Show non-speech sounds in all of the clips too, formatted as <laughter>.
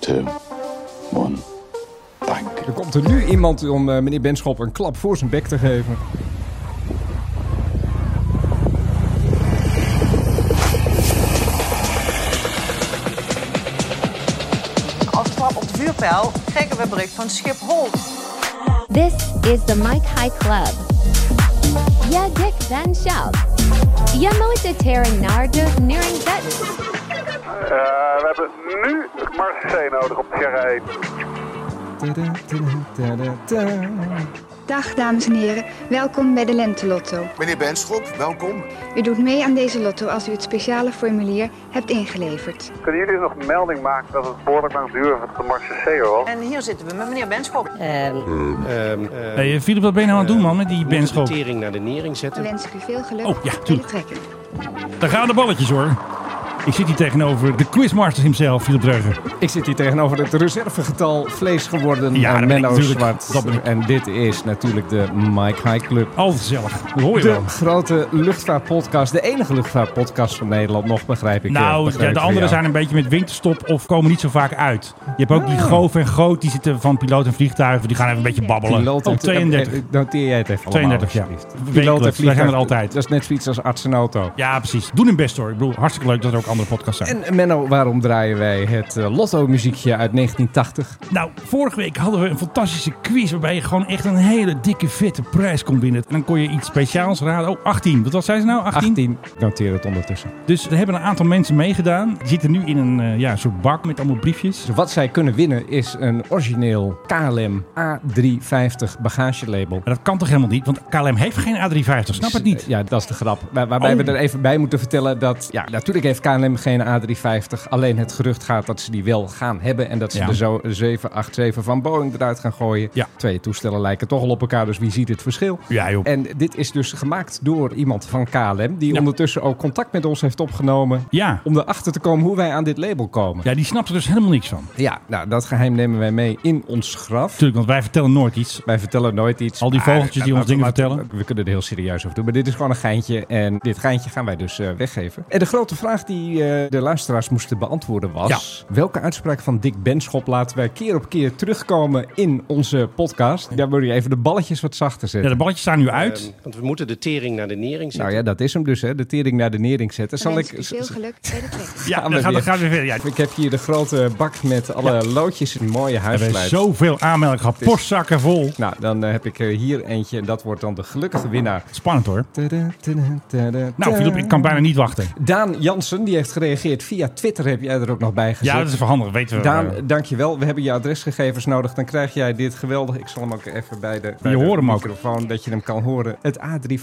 two, one. Dank. Er komt er nu iemand om eh, meneer Benschop een klap voor zijn bek te geven. Als klap op de vuurpijl kregen we bericht van Schiphol. This is the Mike High Club. Ja, dik dan shout. Ja, mooit tering naar de nering zetten. Eh, we hebben nu Marseille nodig op Gerrij. Tada, tada, tada, tada. Dag dames en heren, welkom bij de Lente Lotto. Meneer Benschop, welkom. U doet mee aan deze lotto als u het speciale formulier hebt ingeleverd. Kunnen jullie nog melding maken dat het behoorlijk lang duurde voordat de Marseille was? En hier zitten we met meneer Benschop. Ehm, Hey, Filip, wat ben je nou aan het doen, man, met die benschop? de tering naar de nering Dan zetten. wens ik u veel geluk Oh, ja, bij tuurlijk. het trekken. Daar gaan de balletjes, hoor. Ik zit hier tegenover de quizmaster himself, Filip Dreugen. Ik zit hier tegenover het reservegetal vlees geworden Ja, dat ben ik Menno natuurlijk. Zwart. Dat ben ik. En dit is natuurlijk de Mike High Club. Altijd gezellig. Dat hoor je De wel. grote luchtvaartpodcast. De enige luchtvaartpodcast van Nederland, nog begrijp ik. eh, Nou, begreep ja, de van anderen jou. zijn een beetje met winterstop of komen niet zo vaak uit. Je hebt Ah. ook die goof en goot, die zitten van piloot en vliegtuigen. Die gaan even een beetje babbelen. Piloot oh, en- 32. eh, Noteer jij het even allemaal, 32, ja. alsjeblieft. Piloot en Daar zijn we vliegtuig, altijd. Dat is net zoiets als arts en auto. Ja, precies. Doen hun best hoor. Ik bedoel, hartstikke leuk dat er ook andere podcasts zijn. En Menno, waarom draaien wij het eh, Lotto-muziekje uit 1980? Nou, vorige week hadden we een fantastische quiz waarbij je gewoon echt een hele dikke vette prijs kon winnen. En dan kon je iets speciaals raden. Oh, 18. Wat was zij ze nou? 18? 18. Noteer het ondertussen. Dus er hebben een aantal mensen meegedaan. Die zitten nu in een eh, ja, soort bak met allemaal briefjes. Dus wat zij kunnen winnen is een origineel KLM A350 bagagelabel. Maar dat kan toch helemaal niet? Want KLM heeft geen A350. Snap het niet. Ja, dat is de grap. Waar- waarbij Oh. we er even bij moeten vertellen dat... Ja, natuurlijk heeft KLM geen A350. Alleen het gerucht gaat dat ze die wel gaan hebben. En dat ze Ja. er zo 787 van Boeing eruit gaan gooien. Ja. Twee toestellen lijken toch al op elkaar. Dus wie ziet het verschil? Ja, joh. En dit is dus gemaakt door iemand van KLM. Die Ja. ondertussen ook contact met ons heeft opgenomen. Ja. Om erachter te komen hoe wij aan dit label komen. Ja, die snapt er dus helemaal niks van. Ja, nou, dat geheim nemen wij mee in ons graf. Natuurlijk, want wij vertellen nooit iets. Wij vertellen nooit iets. Al die maar- vogeltjes die Ja, ons laten- dingen laten- vertellen. We kunnen er heel serieus over doen. Maar dit is gewoon een geintje. En dit geintje gaan wij dus eh, weggeven. En de grote vraag die eh, de luisteraars moesten beantwoorden was... Welke uitspraak van Dick Benschop laten wij keer op keer terugkomen in onze podcast? Daar wil je even de balletjes wat zachter Ja, zetten. de balletjes staan nu uit. Ehm, want we moeten de tering naar de nering nou zetten. ja, dat is hem dus, hè. De tering naar de nering zetten. Dan Zal wens ik... ik u veel geluk bij de trekken. ja, gaan dan we gaat, weer. dan gaan we weer verder. Ja, Ik heb hier de grote bak met alle loodjes en mooie we huislijst. hebben zoveel aanmeldingen gehad. is- Postzakken vol. Nou, dan eh, heb ik eh, hier eentje. En dat wordt dan de gelukkige winnaar. Spannend hoor. Tada, tada, tada, Nou, Filip, ik kan bijna niet wachten. Daan Jansen, die heeft gereageerd via Twitter. Heb jij er ook nog bij gezet? Ja, dat is even handig, weten we. Eh, Daan, dankjewel. We hebben je adresgegevens nodig. Dan krijg jij dit geweldig. Ik zal hem ook even bij de, bij Je de hoort hem ook. microfoon, dat je hem kan horen. Het A350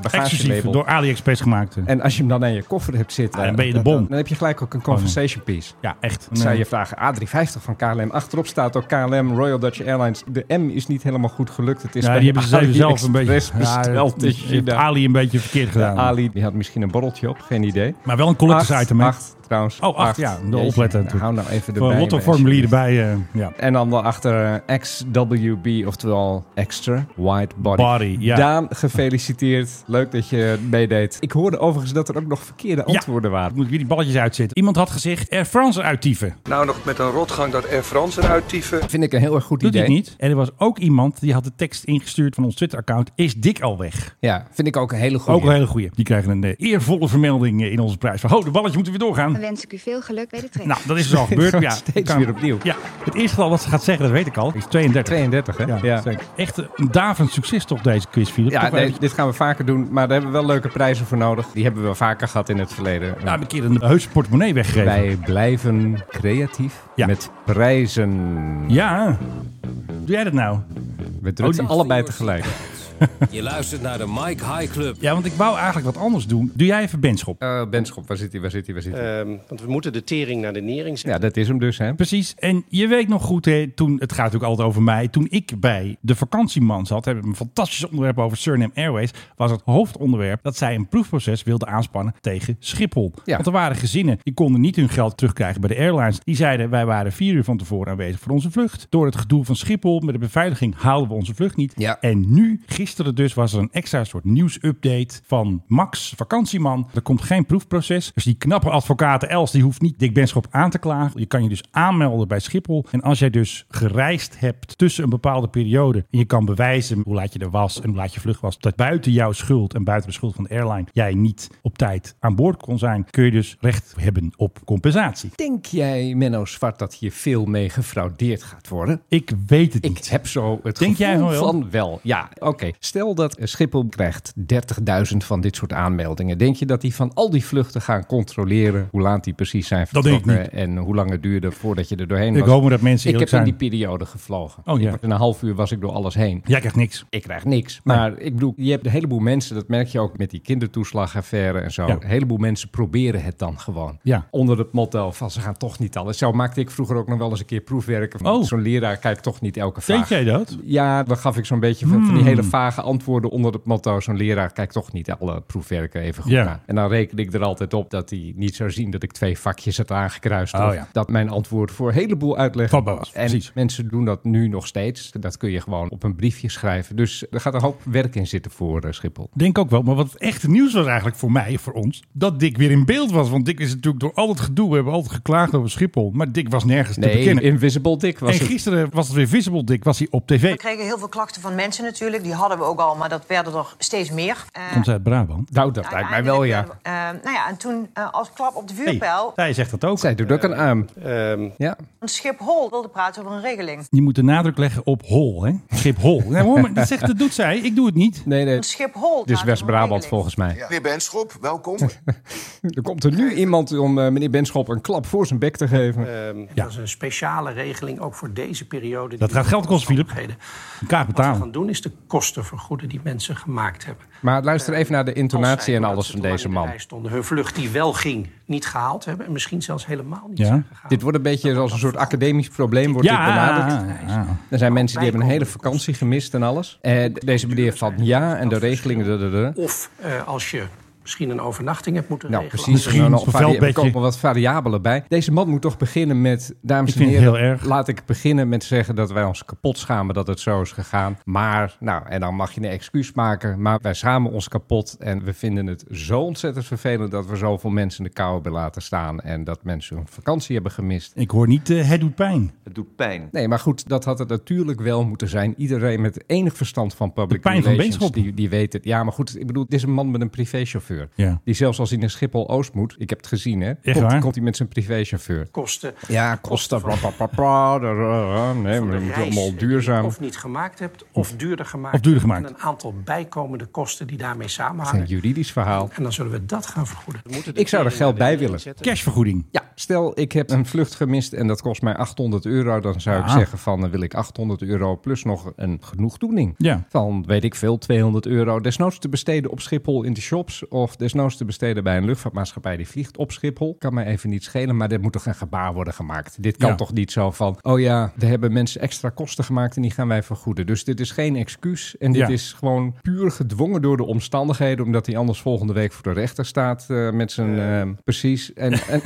exclusief bagagelabel. door AliExpress gemaakt. eh. En als je hem dan aan je koffer hebt zitten, Ja, dan ben je Oh, de eh, bom. Dan, dan heb je gelijk ook een conversation piece. Ja, echt. Dan zou Nee. je vragen, A350 van KLM. Achterop staat ook KLM, Royal Dutch Airlines. De M is niet helemaal goed gelukt. Het is Ja, bij die hebben ze zelf- zelf een beetje. <laughs> AliExpress besteld. Ja, Dus dus je- heeft Ali een beetje verkeerd gedaan. Ali, die had misschien een borreltje op, geen idee. Maar wel een collectors Acht, item. hè? acht, trouwens. Oh, acht, ja. De Jeetje, opletten nou, Hou nou even Voor erbij. een lottoformulier mensen. erbij. eh, ja. En dan daarachter eh, XWB, oftewel Extra Wide Body. Body, ja. Daan, gefeliciteerd. Leuk dat je meedeed. Ik hoorde overigens dat er ook nog verkeerde antwoorden Ik waren. Nou, moet weer die balletjes uitzetten. Iemand had gezegd eh, Air France uittieven. Nou, nog met een rotgang dat Air France eruit tieven. Vind ik een heel erg goed Doet hij idee. het niet. En er was ook iemand die had de tekst ingestuurd van ons Twitter-account. Is Dick al weg? Ja, vind ik ook een hele goede. Ook een hele goeie. Die krijgen een eh, eervolle vermelding eh, in onze prijs. Van, oh, de balletjes moeten weer doorgaan. Dan wens ik u veel geluk bij de trekken. Nou, dat <laughs> is dus al gebeurd. Gaat ja, steeds weer opnieuw. Ja, het eerste getal wat ze gaat zeggen, dat weet ik al, is 32. 32, hè? Ja, zeker. Echt een daverend succes toch deze quiz, Philip. Ja, Toch wel nee, even- dit gaan we vaker doen, maar daar hebben we wel leuke prijzen voor nodig. Die hebben we wel vaker gehad in het verleden. Eh, Ja, een keer een heuse portemonnee weggegeven. Wij blijven creatief Ja. met prijzen. Ja. Doe jij dat nou? We drukken Oh, die- allebei tegelijk. Je luistert naar de Mike High Club. Ja, want ik wou eigenlijk wat anders doen. Doe jij even benschop. Eh, Benschop, waar zit hij, waar zit hij, waar zit hij? Ehm, want we moeten de tering naar de nering zetten. ja, dat is hem dus, hè? Precies. En je weet nog goed, hè, toen, het gaat natuurlijk altijd over mij. Toen ik bij de vakantieman zat, hebben we een fantastisch onderwerp over Suriname Airways. Was het hoofdonderwerp dat zij een proefproces wilden aanspannen tegen Schiphol. Ja. Want er waren gezinnen die konden niet hun geld terugkrijgen bij de airlines. Die zeiden: wij waren vier uur van tevoren aanwezig voor onze vlucht. Door het gedoe van Schiphol met de beveiliging haalden we onze vlucht niet. Ja. En nu, gisteren gisteren dus was er een extra soort nieuwsupdate van Max, vakantieman. Er komt geen proefproces. Dus die knappe advocaat Els, die hoeft niet Dick Benschop aan te klagen. Je kan je dus aanmelden bij Schiphol. En als jij dus gereisd hebt tussen een bepaalde periode... en je kan bewijzen hoe laat je er was en hoe laat je vlucht was... dat buiten jouw schuld en buiten de schuld van de airline... jij niet op tijd aan boord kon zijn... kun je dus recht hebben op compensatie. Denk jij, Menno Zwart, dat hier veel mee gefraudeerd gaat worden? Ik weet het Ik niet. heb zo het Denk jij gevoel van wel? van wel. Ja, oké. Stel dat Schiphol krijgt 30.000 van dit soort aanmeldingen. Denk je dat die van al die vluchten gaan controleren hoe laat die precies zijn Dat denk ik vertrokken? En hoe lang het duurde voordat je er doorheen Ik was? hoop maar dat mensen Ik heb eerlijk in zijn. die periode gevlogen. Oh, ja. Ik- In een half uur was ik door alles heen. Jij krijgt niks. Ik krijg niks. Maar ik bedoel, je hebt een heleboel mensen, dat merk je ook met die kindertoeslagaffaire en zo. Ja. Een heleboel mensen proberen het dan gewoon. Ja. Onder het motto van ze gaan toch niet alles. Zo maakte ik vroeger ook nog wel eens een keer proefwerken. Van, Oh. Zo'n leraar kijkt toch niet elke vraag. Deed jij dat? Ja, dan gaf ik zo'n beetje van, Hmm. van die hele vage antwoorden onder het motto. Zo'n leraar kijkt toch niet alle proefwerken even goed Ja. na. En dan reken ik er altijd op dat hij niet zou zien dat ik twee vakjes had aangekruist. Oh, of ja. Dat mijn antwoord voor een heleboel uitleg Vatbaar was, En precies. mensen doen dat nu nog steeds. Dat kun je gewoon op een briefje schrijven. Dus er gaat een hoop werk in zitten voor eh, Schiphol. Denk ook wel. Maar wat echt het nieuws was eigenlijk voor mij, voor ons, dat Dick weer in beeld was. Want Dick is natuurlijk door al het gedoe, we hebben altijd geklaagd over Schiphol. Maar Dick was nergens te Nee, bekennen. Invisible Dick was en het. gisteren was het weer Visible Dick, was hij op tv. We kregen heel veel klachten van mensen natuurlijk. Die hadden we ook al, maar dat werden er steeds meer. Eh, Komt uit Brabant. Nou, dat lijkt mij wel, ja. uiteindelijk werden we, eh, nou ja, en toen eh, als klap op de Hey, vuurpijl... hij zegt dat ook. Zij doet ook een arm. Ehm, Ja. Schiphol wilde praten over een regeling. Je moet de nadruk leggen op hol, hè? Schiphol. Nee, hoor, maar dat, zegt, dat doet zij. Ik doe het niet. Nee, nee. Schiphol Dit is praat over een Dus West-Brabant regeling. volgens mij. Meneer Benschop, welkom. Er komt er nu iemand om eh, meneer Benschop een klap voor zijn bek te geven. Ja, Een speciale regeling ook voor deze periode. dat gaat geld kosten, Filip. Een kaart betalen. doen is de kosten vergoeden die mensen gemaakt hebben. Maar luister even naar de intonatie en Omdat alles ze van te lang deze in de man. rij stonden, hun vlucht die wel ging, niet gehaald hebben. En misschien zelfs helemaal niet Ja. zijn gegaan. Dit wordt een beetje als een soort academisch probleem wordt dit benaderd. Ja, ja. Er zijn mensen die hebben een hele vakantie gemist en alles. En deze meneer van ja en de regelingen... duh, duh, duh. Of eh, als je misschien een overnachting hebt moeten Nou, regelen. precies. Misschien En dan zo'n nog varia- veldbedje. Er komen wat variabelen bij. Deze man moet toch beginnen met... Dames en Ik vind heren, het heel erg. laat ik beginnen met zeggen dat wij ons kapot schamen dat het zo is gegaan. Maar, nou, en dan mag je een excuus maken. Maar wij schamen ons kapot en we vinden het zo ontzettend vervelend... dat we zoveel mensen in de kou hebben laten staan... en dat mensen hun vakantie hebben gemist. Ik hoor niet, eh, het doet pijn. Het doet pijn. Nee, maar goed, dat had het natuurlijk wel moeten zijn. Iedereen met enig verstand van public De pijn van relations, Benschop. die, die weet het. Ja, maar goed, ik bedoel, dit is een man met een privéchauffeur. Ja. Die zelfs als hij naar Schiphol-Oost moet, ik heb het gezien, hè. Echt komt, waar? komt hij met zijn privéchauffeur. kosten Ja, kosten, bla, bla, bla, bla, da, da, da. Nee, van maar de dat moet reis allemaal die je duurzaam. Of niet gemaakt hebt, of duurder gemaakt. Of duurder hebt. gemaakt. En een aantal bijkomende kosten die daarmee Het is een samenhangen. juridisch verhaal. En dan zullen we dat gaan vergoeden. moeten de Ik zou er tering geld naar de bij nering willen. zetten. Cashvergoeding. Ja, stel ik heb een vlucht gemist en dat kost mij 800 euro. Dan zou ik Ah. zeggen van dan wil ik 800 euro plus nog een genoegdoening. Ja. Van weet ik veel, 200 euro. Desnoods te besteden op Schiphol in de shops. Of desnoods te besteden bij een luchtvaartmaatschappij die vliegt op Schiphol. Kan mij even niet schelen, maar er moet toch een gebaar worden gemaakt. Dit kan Ja. toch niet zo van, oh ja, er hebben mensen extra kosten gemaakt en die gaan wij vergoeden. Dus dit is geen excuus. En dit Ja. is gewoon puur gedwongen door de omstandigheden. Omdat hij anders volgende week voor de rechter staat eh, met zijn... ehm, precies. En, en,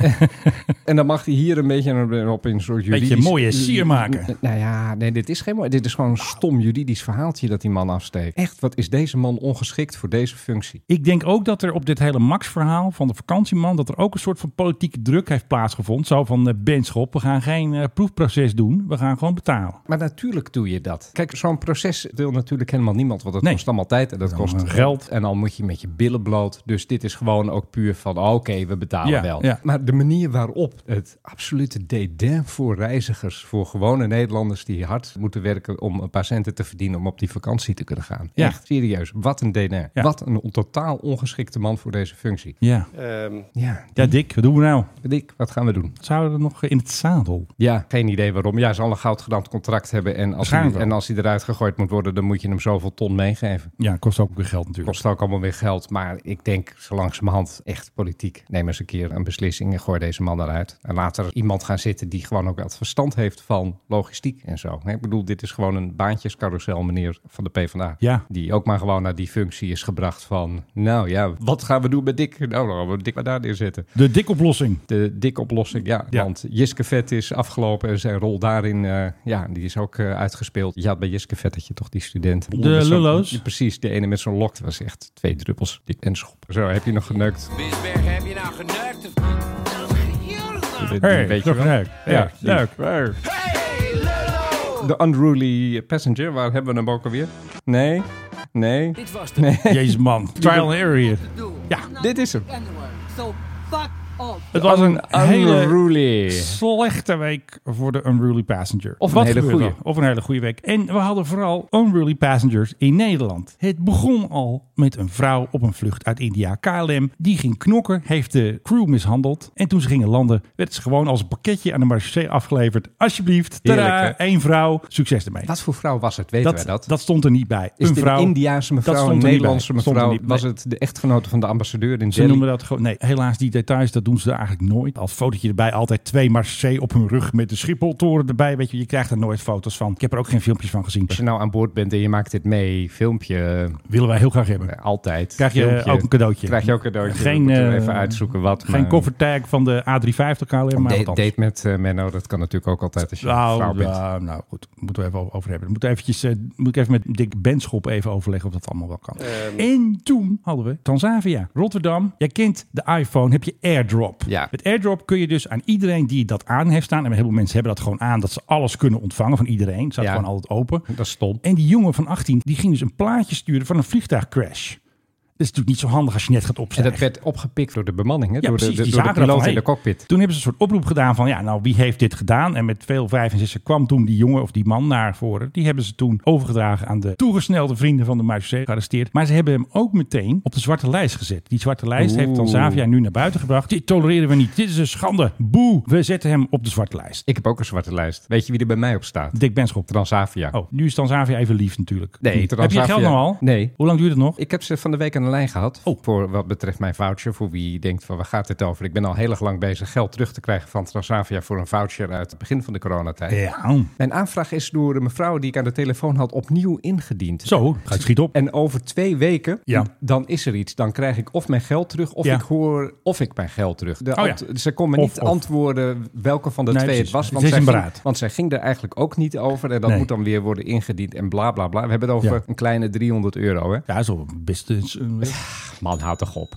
en dan mag hij hier een beetje op in een soort juridisch... Beetje mooie sier maken. Nou ja, nee, dit is geen mooi. Dit is gewoon een stom juridisch verhaaltje dat die man afsteekt. Echt, wat is deze man ongeschikt voor deze functie? Ik denk ook dat er op dit hele Max-verhaal van de vakantieman... dat er ook een soort van politieke druk heeft plaatsgevonden. Zo van, eh, Benschop, we gaan geen eh, proefproces doen. We gaan gewoon betalen. Maar natuurlijk doe je dat. Kijk, zo'n proces wil natuurlijk helemaal niemand, want dat Nee. kost allemaal tijd en dat kost allemaal geld. En dan moet je met je billen bloot. Dus dit is gewoon ook puur van, oh, oké, we betalen Ja, wel. ja. Maar de manier waarop het absolute dédain voor reizigers, voor gewone Nederlanders die hard moeten werken om een paar centen te verdienen om op die vakantie te kunnen gaan. Ja. Echt serieus, wat een dédain. Ja. Wat een totaal ongeschikte man voor deze functie. Ja. Ehm, Ja, ja, Dick, wat doen we nou? Dick, wat gaan we doen? Zouden we nog eh, in het zadel? Ja, geen idee waarom. Ja, ze zal een goudgedampt contract hebben. En als, hij, Waarschijnlijk wel. en als hij eruit gegooid moet worden, dan moet je hem zoveel ton meegeven. Ja, kost ook weer geld natuurlijk. Kost ook allemaal weer geld. Maar ik denk zo langzamerhand echt politiek. Neem eens een keer een beslissing en gooi deze man allemaal naar uit. En later iemand gaan zitten die gewoon ook wat verstand heeft van logistiek en zo. Ik bedoel, dit is gewoon een baantjescarousel, meneer van de PvdA. Ja. Die ook maar gewoon naar die functie is gebracht van, nou ja, wat gaan we doen met Dick? Nou, dan gaan we Dick maar daar neerzetten. De dikoplossing. De dik oplossing, ja. Ja. Want Jiske Vet is afgelopen en zijn rol daarin, eh, ja, die is ook eh, uitgespeeld. Je had bij Jiske Vet dat je toch die student... De Met zo'n- lullo's? Ja, precies, de ene met zo'n lok. Dat was echt twee druppels dik en schop. Zo, heb je nog geneukt? Bisberg, heb je nou geneukt? Hey, leuk. Ja, leuk. De Unruly Passenger, waar hebben we hem ook alweer? Nee, nee, Dit was de... nee. Jezus man. Trial and error hier. Dit is hem. Het was een hele Unruly. slechte week voor de Unruly Passenger. Of een hele gebeurde goeie. er? Of een hele goede week. En we hadden vooral Unruly Passengers in Nederland. Het begon al met een vrouw op een vlucht uit India, KLM. Die ging knokken, heeft de crew mishandeld. En toen ze gingen landen, werd ze gewoon als een pakketje aan de marché afgeleverd. Alsjeblieft, tada, Heerlijk, hè? één vrouw, succes ermee. Wat voor vrouw was het? Weten Dat, wij dat? dat stond er niet bij. is een het vrouw, een Indiaanse dat mevrouw, stond er een niet bij. Nederlandse Stond er mevrouw? niet bij. Was het de echtgenote van de ambassadeur in Ze Delhi? noemen dat gewoon. Nee, helaas, die details, dat doen ze daar eigenlijk nooit. Als fotootje erbij, altijd twee Marseille op hun rug met de Schipholtoren erbij. Weet je, je krijgt er nooit foto's van. Ik heb er ook geen filmpjes van gezien. Als je nou aan boord bent en je maakt dit mee, filmpje, Willen wij heel graag hebben. eh, altijd. Krijg je Filmpje. ook een cadeautje. Krijg je ook een cadeautje. Geen, Geen, moeten we eh, even uitzoeken wat. Geen koffertag van de A350 KLM, maar Een wat anders. date met eh, Menno, dat kan natuurlijk ook altijd als je Nou, Dus, eh, vrouw bent. nou, nou goed, moeten we even over hebben. Moet, eventjes, eh, moet ik even met Dick Benschop even overleggen of dat allemaal wel kan. En toen hadden we Transavia, Rotterdam. Jij kent de iPhone, heb je AirDrop. Ja. Met AirDrop kun je dus aan iedereen die dat aan heeft staan. En heel veel mensen hebben dat gewoon aan, dat ze alles kunnen ontvangen van iedereen. Het staat Ja. gewoon altijd open. Dat is stom. En die jongen van 18, die ging dus een plaatje sturen van een vliegtuigcrash. Dat is natuurlijk niet zo handig als je net gaat En opstijgen. dat werd opgepikt door de bemanning, hè? Ja, door precies. de, de, die door de zagen dat piloot van, in de hey. cockpit. Toen hebben ze een soort oproep gedaan van, ja, nou, wie heeft dit gedaan? En met veel vijf en zessen kwam toen die jongen of die man naar voren. Die hebben ze toen overgedragen aan de toegesnelde vrienden van de Marseille gearresteerd. Maar ze hebben hem ook meteen op de zwarte lijst gezet. Die zwarte lijst heeft Oeh. Transavia nu naar buiten gebracht. Dit tolereren we niet. Dit is een schande. Boe. We zetten hem op de zwarte lijst. Ik heb ook een zwarte lijst. Weet je wie er bij mij op staat? Dick Benschop. Transavia. Oh, nu is Transavia even lief natuurlijk. Hm. Nee, Heb je Transavia- je geld nog al? Nee. Hoe lang duurt het nog? Ik heb ze van de week aan de lijn gehad. Oh. Voor wat betreft mijn voucher. Voor wie denkt van waar gaat dit over? Ik ben al heel erg lang bezig geld terug te krijgen van Transavia voor een voucher uit het begin van de coronatijd. Ja. Mijn aanvraag is door de mevrouw die ik aan de telefoon had opnieuw ingediend. Zo, gaat schiet op. En over twee weken, Ja. dan is er iets. Dan krijg ik of mijn geld terug, of Ja. ik hoor of ik mijn geld terug. De Oh ja. ant- Ze kon me Of, niet of. antwoorden welke van de Nee, twee het precies. was. Het is zij een ging, beraad. want zij ging er eigenlijk ook niet over. En dat Nee. moet dan weer worden ingediend en bla bla bla. We hebben het over Ja. een kleine 300 euro. Hè? Ja, zo best. Man, houd toch op.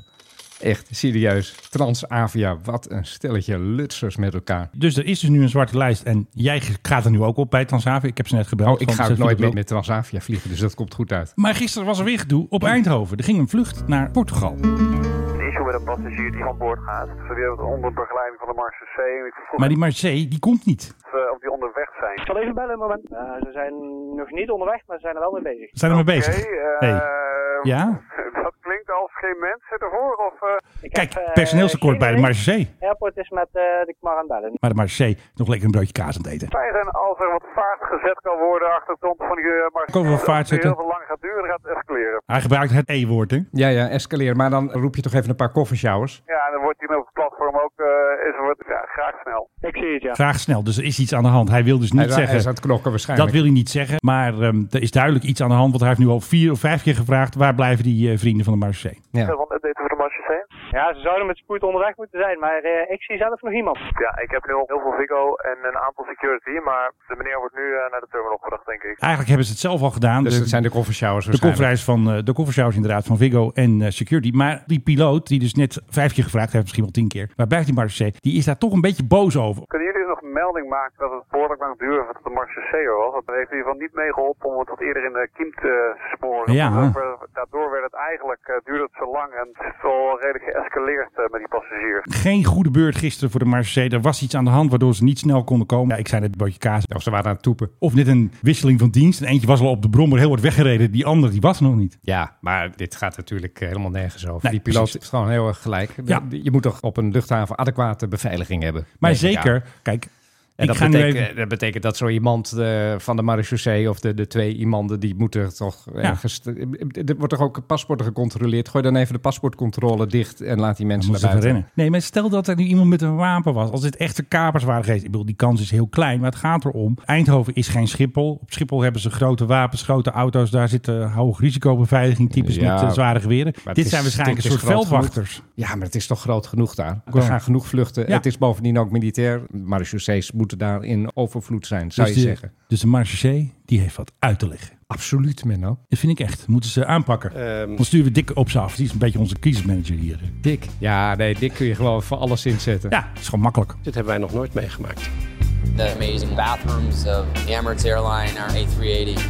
Echt, serieus. Transavia, wat een stelletje lutsers met elkaar. Dus er is dus nu een zwarte lijst. En jij gaat er nu ook op bij Transavia. Ik heb ze net gebeld. Oh, ik Van, ga ze ook nooit vinden meer het met Transavia vliegen, dus dat komt goed uit. wel- Maar gisteren was er weer gedoe op Oh. Eindhoven. Er ging een vlucht naar Portugal. Een issue met een passagier die van boord gaat. Ze willen onder begeleiding van de Marseille. Ik vroeg Maar die Marseille, die komt niet. of, eh, of die onderweg zijn. zal even bellen een moment. ze zijn nog niet onderweg, maar ze zijn er wel mee bezig. We zijn er mee bezig. eh, Hey. Ja? <laughs> Dat klinkt als geen mensen ervoor. Of, eh, Ik heb, Kijk, eh, personeelstekort geen bij de idee. Marseille. Airport is met eh, de Marandellen. Maar de Marseille is nog lekker een broodje kaas aan het eten. fijn zijn als er wat vaart gezet kan worden achter de kont van die eh, Marseille. Kan wel Als het vaart zetten. heel veel lang gaat duren, gaat het escaleren. Hij gebruikt het E-woord, hè? Ja, ja, escaleer. Maar dan roep je toch even een paar koffershowers. Ja, en dan wordt hier op het platform ook eh, is er wat, ja, graag snel. Ik zie het, ja. Graag snel. Dus er is iets aan de hand. Hij wil dus niet Hij, hij zeggen... is aan het knokken waarschijnlijk. Dat wil hij niet zeggen, maar ehm, er is duidelijk iets aan de hand. Want hij heeft nu al vier of vijf keer gevraagd... waar blijven die eh, vrienden van de Marseille? Ja. Want het eten voor de Marseille. Ja, ze zouden met spoed onderweg moeten zijn, maar eh, ik zie zelf nog niemand. Ja, ik heb heel, heel veel Vigo en een aantal security, maar de meneer wordt nu eh, naar de terminal gebracht, denk ik. Eigenlijk hebben ze het zelf al gedaan. Dus De- dat zijn de koffershowers De waarschijnlijk. kofferreis van eh, de koffershows inderdaad van Vigo en eh, Security. Maar die piloot, die dus net vijf keer gevraagd heeft, misschien wel tien keer, maar blijft die Marseille, die is daar toch een beetje boos over. Kunnen jullie nog een melding maken dat het behoorlijk lang duurde voordat de Marseille was? Dat heeft in ieder geval niet meegeholpen om het wat eerder in de kiem te sporen. Ja. Want daardoor- Daardoor werd het eigenlijk, eh, duurde het zo lang en het is wel redelijk geëscaleerd eh, met die passagiers. Geen goede beurt gisteren voor de Marseille. Er was iets aan de hand waardoor ze niet snel konden komen. Ja, ik zei net een broodje kaas. Nou, Of ze waren aan het toepen. Of net een wisseling van dienst. En eentje was al op de brommer heel wat weggereden. Die andere die was er nog niet. Ja, maar dit gaat natuurlijk eh, helemaal nergens over. Nee, die piloot precies. heeft gewoon heel erg gelijk. Ja. Je moet toch op een luchthaven adequate beveiliging hebben. Maar denk ik zeker, aan. kijk, En Ik dat ga nu betekent, even- dat betekent dat zo iemand eh, van de marechaussee of de, de twee iemanden, die moeten toch ergens... eh, Er wordt toch ook paspoorten gecontroleerd? Gooi dan even de paspoortcontrole dicht en laat die mensen naar moeten ze buiten. verrennen. Nee, maar stel dat er nu iemand met een wapen was. Als dit echte kapers waren geweest. Ik bedoel, die kans is heel klein. Maar het gaat erom. Eindhoven is geen Schiphol. Op Schiphol hebben ze grote wapens, grote auto's. Daar zitten hoog risicobeveiliging types Ja, met eh, zware geweren. maar het Dit is- zijn waarschijnlijk een het is soort groot veldwachters. genoeg. Ja, maar het is toch groot genoeg daar. Er Gewoon. gaan genoeg vluchten. Ja. Het is bovendien ook militair. Marechaussees moeten daar in overvloed zijn, zou dus je de, zeggen. Dus de marechaussee, die heeft wat uit te leggen. Absoluut, Menno. Dat vind ik echt. Moeten ze aanpakken. Ehm. Dan sturen we Dick op ze af. Die is een beetje onze crisismanager hier. Dik. Ja, nee, dik kun je gewoon voor alles inzetten. Ja, het is gewoon makkelijk. Dit hebben wij nog nooit meegemaakt. the amazing bathrooms of the Emirates airline, our A380.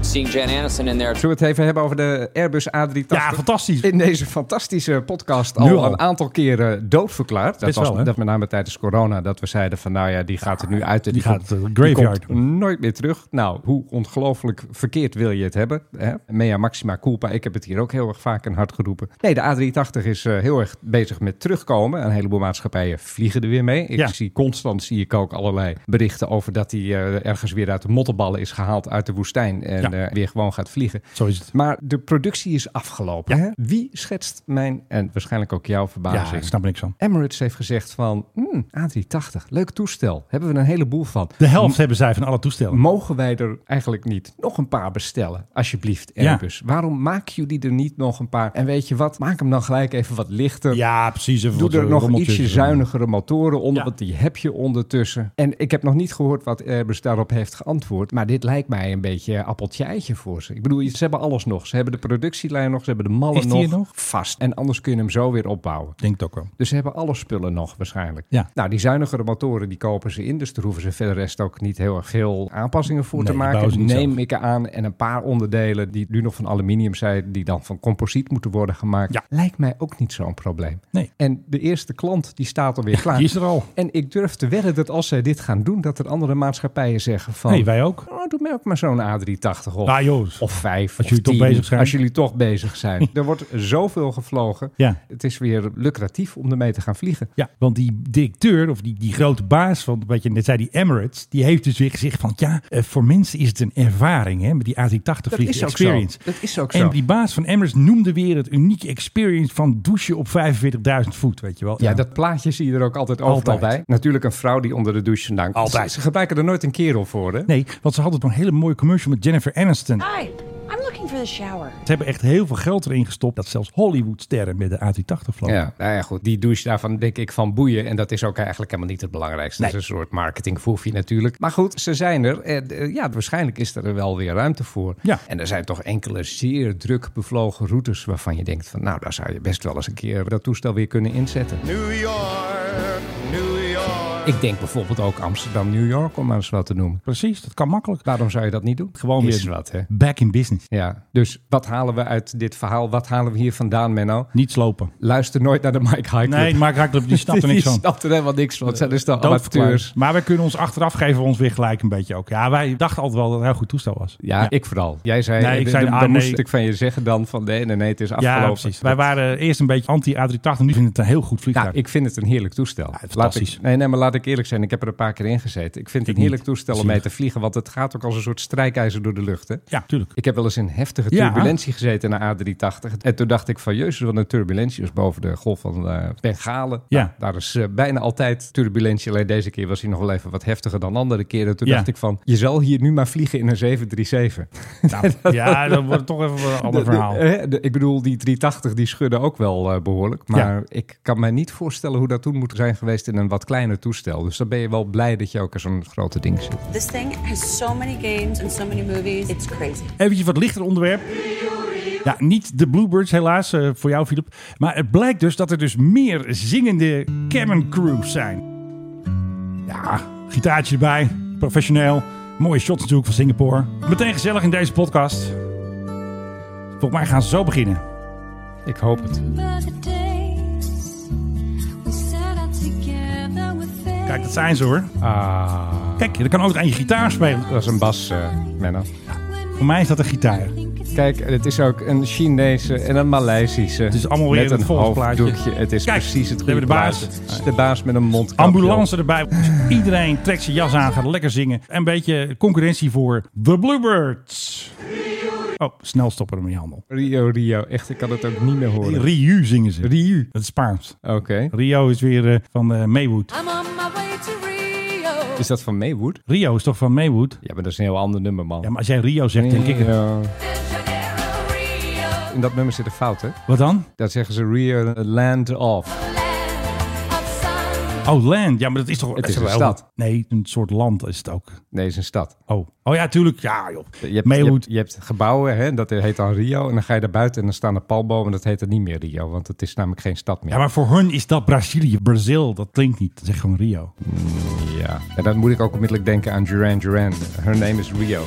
Seeing Jan Anderson in there Zullen we het even hebben over de Airbus A380? Ja, fantastisch. In deze fantastische podcast Nu al, al. een aantal keren doodverklaard. Dat Best was wel, hè? dat met name tijdens corona dat we zeiden van nou ja, die gaat er nu uit. en die gaat komt- het, eh, graveyard die komt nooit meer terug. Nou, hoe ongelooflijk verkeerd wil je het hebben? Hè? Mea maxima culpa. Ik heb het hier ook heel erg vaak en hard geroepen. Nee, de A380 is eh, heel erg bezig met terugkomen. Een heleboel maatschappijen vliegen er weer mee. Ik Ja. zie constant zie ik ook allerlei berichten over dat hij eh, ergens weer uit de motteballen is gehaald uit de woestijn en Ja. eh, weer gewoon gaat vliegen. Zo is het. Maar de productie is afgelopen. Hè? Wie schetst mijn en waarschijnlijk ook jouw Ja, ik verbazing? snap er niks van. Emirates heeft gezegd van hmm, A380, leuk toestel. Hebben we een heleboel van. De helft hebben zij van alle toestellen. Mogen wij er eigenlijk niet nog een paar bestellen? Alsjeblieft, Ja. Airbus. Waarom maken jullie er niet nog een paar? En weet je wat, maak hem dan gelijk even wat lichter. Ja, precies. Even Doe wat, er eh, nog rommeltjes. ietsje zuinigere motoren onder, Ja. want die heb je ondertussen. En ik heb nog niet gehoord wat Airbus daarop heeft geantwoord. Maar dit lijkt mij een beetje appeltje-eitje voor ze. Ik bedoel, ze hebben alles nog. Ze hebben de productielijn nog, ze hebben de mallen Is die er nog? Vast. En anders kun je hem zo weer opbouwen. Ik Denk het ook wel. Dus ze hebben alle spullen nog waarschijnlijk. Ja. Nou, die zuinigere motoren die kopen ze in. Dus daar hoeven ze verder rest ook niet heel erg veel aanpassingen voor Nee, te die bouwen ze maken. niet Neem zelf. ik aan. En een paar onderdelen die nu nog van aluminium zijn, die dan van composiet moeten worden gemaakt. Ja. Lijkt mij ook niet zo'n probleem. Nee. En de eerste klant die staat alweer klaar. Die is er al. En ik durf te wedden dat als zij dit gaan doen, dat er andere maatschappijen zeggen van... Nee, wij ook. Oh, doe mij ook maar zo'n A380 op. Nou, jongens. Of vijf. Als of jullie toch tien, bezig zijn. Als jullie toch bezig <laughs> zijn. er wordt zoveel gevlogen. Ja. Het is weer lucratief om ermee te gaan vliegen. Ja, want die directeur of die, die grote baas van wat je net zei, die Emirates, die heeft dus weer gezegd van ja, eh, voor mensen is het een ervaring hè, met die A380 Dat vliegt is ook experience. zo. Dat is ook En zo. die baas van Emirates noemde weer het unieke experience van douchen op 45.000 voet, weet je wel. Ja, dat plaatje zie je er ook altijd overal Altijd. bij. Natuurlijk een vrouw die onder de douche vandaan komt. Altijd. Ze, ze gebruiken er nooit een kerel voor, hè? Nee, want ze hadden toch een hele mooie commercial met Jennifer Aniston. Hi, I'm looking for the shower. Ze hebben echt heel veel geld erin gestopt dat zelfs Hollywoodsterren met de A380 vlogen. Ja, nou ja, goed. Die douche daarvan denk ik van boeien. En dat is ook eigenlijk helemaal niet het belangrijkste. Nee. Dat is een soort marketingfoefje natuurlijk. Maar goed, ze zijn er. En, eh, ja, waarschijnlijk is er wel weer ruimte voor. Ja. En er zijn toch enkele zeer druk bevlogen routes waarvan je denkt van... nou, daar zou je best wel eens een keer dat toestel weer kunnen inzetten. New York, New York. Ik denk bijvoorbeeld ook Amsterdam-New York, om maar eens wat te noemen. Precies, dat kan makkelijk. Waarom zou je dat niet doen? Gewoon weer Is wat, hè? back in business. Ja, dus wat halen we uit dit verhaal? Wat halen we hier vandaan, Menno? Niet slopen. Luister nooit naar de Mike High Club. Nee, Mark Haklip, die <laughs> snapt er <laughs> niks Die van. Eh, snapt er helemaal niks van. Het zijn dus de Doodverklaard. amateurs. Maar we kunnen ons achteraf geven we ons weer gelijk een beetje ook. Ja, wij dachten altijd wel dat het een heel goed toestel was. Ja, ik vooral. Jij zei, Nee, ik eh, zei, dan, ah, dan nee. moest ik van je zeggen dan van nee, nee, nee, het is afgelopen. Ja, precies. Wij waren eerst een beetje anti-A380. Nu vind ik het een heel goed Nou, vliegtuig. ik vind het een heerlijk toestel. laat fantastisch. ik, nee, nee, maar laat ik eerlijk zijn. Ik heb er een paar keer in gezeten. Ik vind het Ik een heerlijk niet. toestel om Zielig. mee te vliegen. Want het gaat ook als een soort strijkijzer door de lucht. Hè? Ja, <laughs> tuurlijk. Ik heb wel eens in heftige Ja. turbulentie gezeten naar A380. En toen dacht ik van, jezus, wat een turbulentie. was boven de golf van eh Bengalen. Ja. Nou, daar is eh, bijna altijd turbulentie. Alleen deze keer was hij nog wel even wat heftiger dan andere keren. Toen Ja. dacht ik van, je zal hier nu maar vliegen in een 737. Nou, ja, dat wordt toch even een ander De- de- verhaal. hè, de- ik bedoel, die 380 die schudden ook wel eh, behoorlijk. Maar Ja. ik kan mij niet voorstellen hoe dat toen moet zijn geweest in een wat kleiner toestel. Dus dan ben je wel blij dat je ook in zo'n grote ding zit. This thing has so many games and so many movies. It's crazy. Eventjes wat lichter onderwerp. Ja, niet de Bluebirds helaas eh, voor jou, Philip. Maar het blijkt dus dat er dus meer zingende cabin crews zijn. Ja, gitaartje erbij. Professioneel. Mooie shots natuurlijk van Singapore. Meteen gezellig in deze podcast. Volgens mij gaan ze zo beginnen. Ik hoop het. Kijk, dat zijn ze hoor. Ah, Kijk, er kan ook een gitaar spelen. dat is een bas, eh Menno. Voor mij is dat een gitaar. Kijk, het is ook een Chinese en een Maleisische. Het is allemaal weer met het een volksplaatje. hoofddoekje. Het is Kijk, precies het daar hebben we de baas. plaatje. De baas met een mondkapje. Ambulance erbij. Dus iedereen trekt zijn jas aan, gaat lekker zingen. En een beetje concurrentie voor The Bluebirds. Oh, snel stoppen met die handel. Rio, Rio. Echt, ik kan het ook niet meer horen. Riu zingen ze. Riu. Dat is Spaans. Oké. Rio is weer eh, van eh, Maywood. I'm on my way to Rio. Is dat van Maywood? Rio is toch van Maywood? Ja, maar dat is een heel ander nummer, man. Ja, maar als jij Rio zegt, denk ik het. Ja. In dat nummer zit een fout, hè? Wat dan? Dat zeggen ze Rio Land of. Oh, land. Ja, maar dat is toch... Het is wel een stad. Nee, een soort land is het ook. Nee, het is een stad. Oh, oh ja, tuurlijk. Ja, joh. Je hebt, je, Maywood. hebt, je hebt gebouwen, hè, dat heet dan Rio. En dan ga je daar buiten en dan staan er palmbomen. Dat heet dan niet meer Rio, want het is namelijk geen stad meer. Ja, maar voor hun is dat Brazilië. Brazil, dat klinkt niet. Dat is gewoon Rio. Ja. En dan moet ik ook onmiddellijk denken aan Duran Duran. Her name is Rio.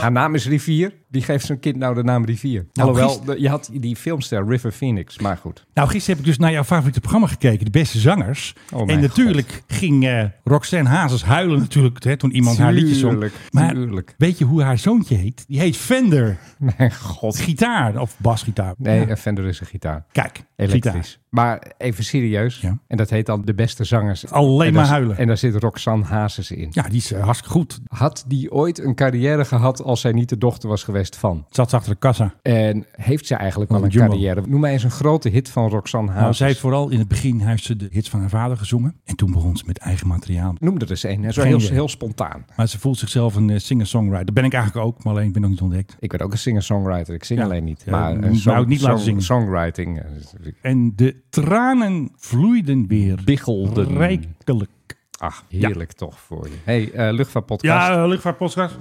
Haar naam is Rivier. Wie geeft zijn kind nou de naam Rivier? Nou, Alhoewel, gisteren- de- je had die filmster River Phoenix, maar goed. Nou, gisteren heb ik dus naar jouw favoriete programma gekeken, De Beste Zangers. Oh, mijn en natuurlijk ging eh, Roxanne Hazes huilen natuurlijk hè, toen iemand haar liedje zong. Tuurlijk, Maar tuurlijk. weet je hoe haar zoontje heet? Die heet Fender. Mijn god. Gitaar of basgitaar. Nee, Ja. een Fender is een gitaar. Kijk, Elektrisch. gitaar. Maar even serieus. En dat heet dan de beste zangers. Alleen En maar daar- huilen. En daar zit Roxanne Hazes in. Ja, die is eh, hartstikke goed. Had die ooit een carrière gehad als zij niet de dochter was geweest van? Zat ze achter de kassa. Nou, En heeft zij eigenlijk wel Oh, een Jumbo. carrière? Noem mij eens een grote hit van Roxanne Hazes. Nou, zij heeft vooral in het begin heeft ze de hits van haar vader gezongen. En toen begon ze met eigen materiaal. Noem er eens een. hè. Zo Geen heel, idee. heel spontaan. Maar ze voelt zichzelf een eh, singer-songwriter. Dat ben ik eigenlijk ook, maar alleen ik ben nog niet ontdekt. Ik ben ook een singer-songwriter. Ik zing Ja. alleen niet. Ja, maar moet een me song- ook niet laten song- zingen. Songwriting. eh, is- ik- En de tranen vloeiden weer. Biggelden. Rijkelijk. Ach, heerlijk toch voor je. hey, eh, luchtvaartpodcast. Ah, Ja, eh, luchtvaartpodcast.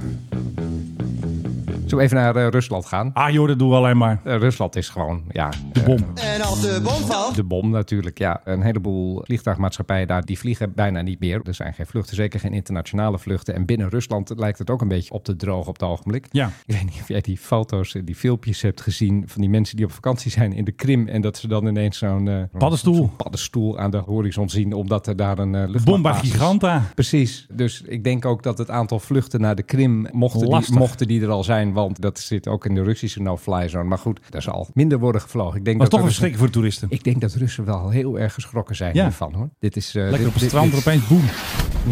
Zullen we even naar eh, Rusland gaan? Ah joh, dat doen we alleen maar. Eh, Rusland is gewoon, ja... De eh, bom. En als de bom valt. De bom natuurlijk, ja. Een heleboel vliegtuigmaatschappijen daar, die vliegen bijna niet meer. Er zijn geen vluchten, zeker geen internationale vluchten. En binnen Rusland lijkt het ook een beetje op te droog op het ogenblik. Ja. Ik weet niet of jij die foto's en die filmpjes hebt gezien van die mensen die op vakantie zijn in de Krim. En dat ze dan ineens zo'n eh, Paddenstoel. zo'n paddenstoel aan de horizon zien, omdat er daar een eh Bomba luchtmachtbasis is. Giganta. Precies. Dus ik denk ook dat het aantal vluchten naar de Krim, mochten die, Lastig. mochten die er al zijn, want dat zit ook in de Russische no-fly zone. Maar goed, daar zal minder worden gevlogen. Ik denk Was dat toch een de Russen- schrik voor de toeristen. ik denk dat Russen wel heel erg geschrokken zijn Ja. hiervan hoor. Dit is, eh, Lekker dit- op het dit- strand dit- er opeens boem.